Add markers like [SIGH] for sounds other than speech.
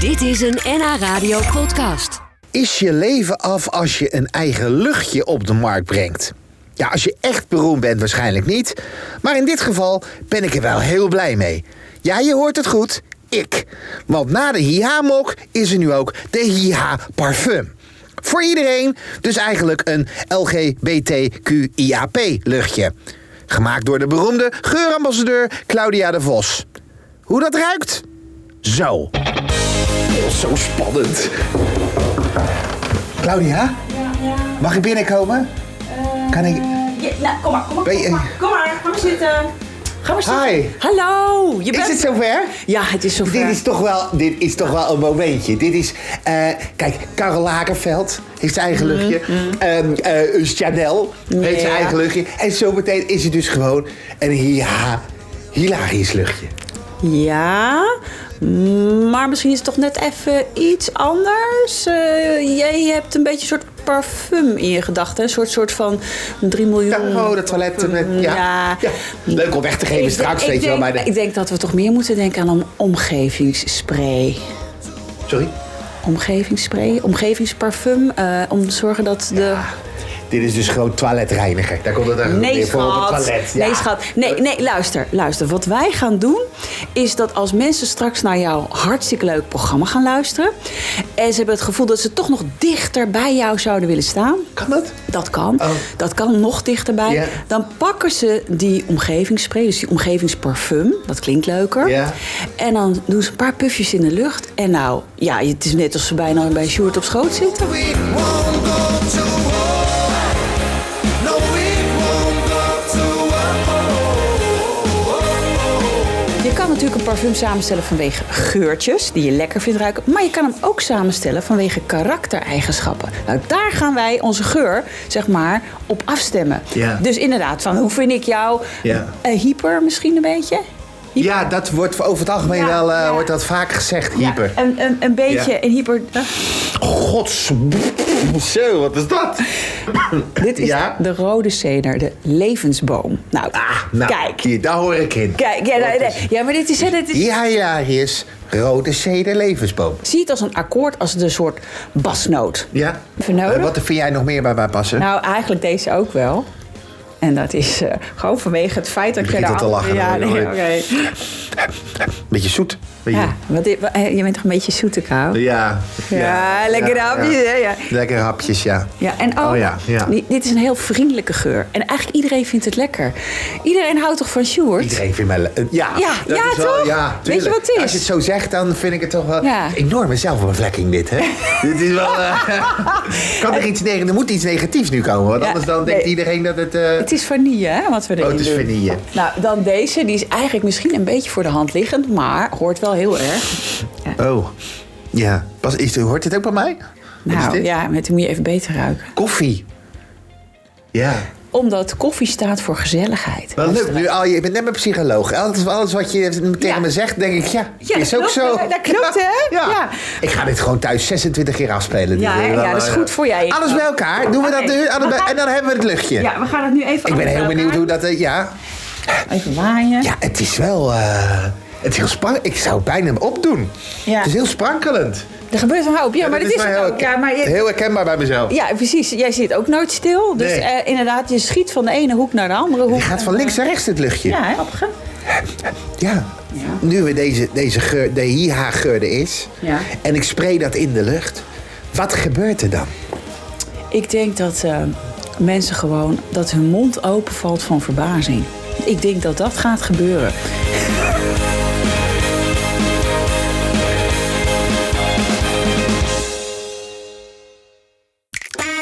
Dit is een NH Radio podcast. Is je leven af als je een eigen luchtje op de markt brengt? Ja, als je echt beroemd bent waarschijnlijk niet. Maar in dit geval ben ik er wel heel blij mee. Ja, je hoort het goed. Ik. Want na de Hiha-mok is er nu ook de Hiha-parfum. Voor iedereen, dus eigenlijk een LGBTQIAP-luchtje. Gemaakt door de beroemde geurambassadeur Claudia de Vos. Hoe dat ruikt? Zo. Oh, Zo spannend. Claudia, mag ik binnenkomen? Eh, Kan ik... Ja, nou, kom maar, kom maar, Ben je- kom maar, kom maar, ga maar zitten. Ga maar zitten. Hi. Hallo, je Is bent... het zover? Ja, het is zover. Dit is toch wel, dit is toch wel een momentje. Dit is, eh, kijk, Karel Lagerveld heeft zijn eigen luchtje. Ehm, eh, Chanel heeft zijn Mm-hmm. Ja. eigen luchtje. En zometeen is het dus gewoon een ja, hilarisch luchtje. Ja, maar misschien is het toch net even iets anders. Eh, jij hebt een beetje een soort parfum in je gedachten. Een soort, soort van 3 miljoen... Ja, oh, dat toilet. Met, ja. Ja. Ja, Leuk om weg te geven Ik- straks, ik weet je wel. denk- Maar de- Ik denk dat we toch meer moeten denken aan een omgevingsspray. sorry? Omgevingsspray, omgevingsparfum. eh, om te zorgen dat de Dit is dus gewoon toiletreiniger. Daar komt het eigenlijk Nee, weer voor op het schat. toilet. Ja. Nee, schat. Nee, nee, luister, luister. Wat wij gaan doen, is dat als mensen straks naar jouw hartstikke leuk programma gaan luisteren... en ze hebben het gevoel dat ze toch nog dichter bij jou zouden willen staan... Kan dat? Dat kan. Oh. Dat kan nog dichterbij. Ja. Dan pakken ze die omgevingsspray, dus die omgevingsparfum. Dat klinkt leuker. Ja. En dan doen ze een paar pufjes in de lucht. En nou, ja, het is net alsof ze bijna bij Sjoerd op schoot zitten. It won't go to war. No, it won't go to war. Je kan natuurlijk een parfum samenstellen vanwege geurtjes die je lekker vindt ruiken. Maar je kan hem ook samenstellen vanwege karaktereigenschappen. Nou, daar gaan wij onze geur, zeg maar, op afstemmen. Ja. Dus inderdaad, van hoe vind ik jou Ja. Eh, hyper misschien een beetje? Ja, dat wordt over het algemeen Ja, wel eh, ja. wordt dat vaak gezegd, hyper. Ja, een, een, een beetje Ja. een hyper. eh, Gods. Zo, wat is dat? dit is Ja. de rode ceder, de levensboom. Nou, Nou, kijk. Hier, daar hoor ik in. Kijk, ja, nee, nee. ja, maar dit is, hè, dit is Ja, ja, hier is rode ceder levensboom. zie het als een akkoord, als een soort basnoot. Ja. Even nodig? Eh, wat vind jij nog meer bij mij passen? Nou, eigenlijk deze ook wel. En dat is eh, gewoon vanwege het feit dat Je je begint al te lachen, Ja, hoor. nee, oké. Beetje zoet. Beetje- Ja, want dit- eh, je bent toch een beetje zoete kou? Ja. Ja, lekker hapjes, hè, ja. Lekker hapjes, ja. Ja, en ook, Oh ja, ja. di- dit is een heel vriendelijke geur. En eigenlijk iedereen vindt het lekker. Iedereen houdt toch van Sjoerd? Iedereen vindt mij... le- eh, Ja, Ja, dat ja, is wel- toch? ja, Weet je tuurlijk. wat het is? Als je het zo zegt, dan vind ik het toch wel... Ja. Enorme zelfbevlekking dit, [LAUGHS] hè? dit is wel... eh, kan er, iets neg- er moet iets negatiefs nu komen, want Ja, anders dan denkt nee. iedereen dat het... eh, Het is vanille, hè, wat we erin Oh, het is doen. vanille. Nou, dan deze. Die is eigenlijk misschien een beetje voor de hand liggend, maar hoort wel heel erg. Oh, ja. Pas, is, hoort dit ook bij mij? Wat is Nou dit? ja, met die moet je even beter ruiken. Koffie. Ja, Omdat koffie staat voor gezelligheid. wel leuk. Nu, al je bent net een psycholoog. Alles, alles wat je tegen nou. Ja. me zegt, denk ik, ja, Ja, is dat ook klopt, zo. hè? Dat klopt, hè? [LAUGHS] Ja. Ja. Ik ga dit gewoon thuis 26 keer afspelen. Ja, Dit, eh, hè? wel, Ja, dat is eh, goed voor jij. Alles bij elkaar. Doen we dat Oké. nu? Alles bij- En dan hebben we het luchtje. Ja, we gaan het nu even Ik ben heel benieuwd hoe dat... eh, ja. Even waaien. ja, het is wel... eh, het is heel spannend. Ik zou het bijna opdoen. Ja. Het is heel sprankelend. Er gebeurt een hoop. Ja, maar dat dat is wel het heel, ook. Ja, maar je- heel herkenbaar bij mezelf. ja, precies. Jij zit ook nooit stil. Dus Nee. eh, inderdaad, je schiet van de ene hoek naar de andere hoek. Je gaat van links naar rechts het luchtje. Ja, hè? Grappig, hè? Ja. Ja. Nu we deze, deze geur, de hiha-geur er is. Ja. En ik spray dat in de lucht. Wat gebeurt er dan? Ik denk dat eh, mensen gewoon... dat hun mond openvalt van verbazing. Ik denk dat dat gaat gebeuren.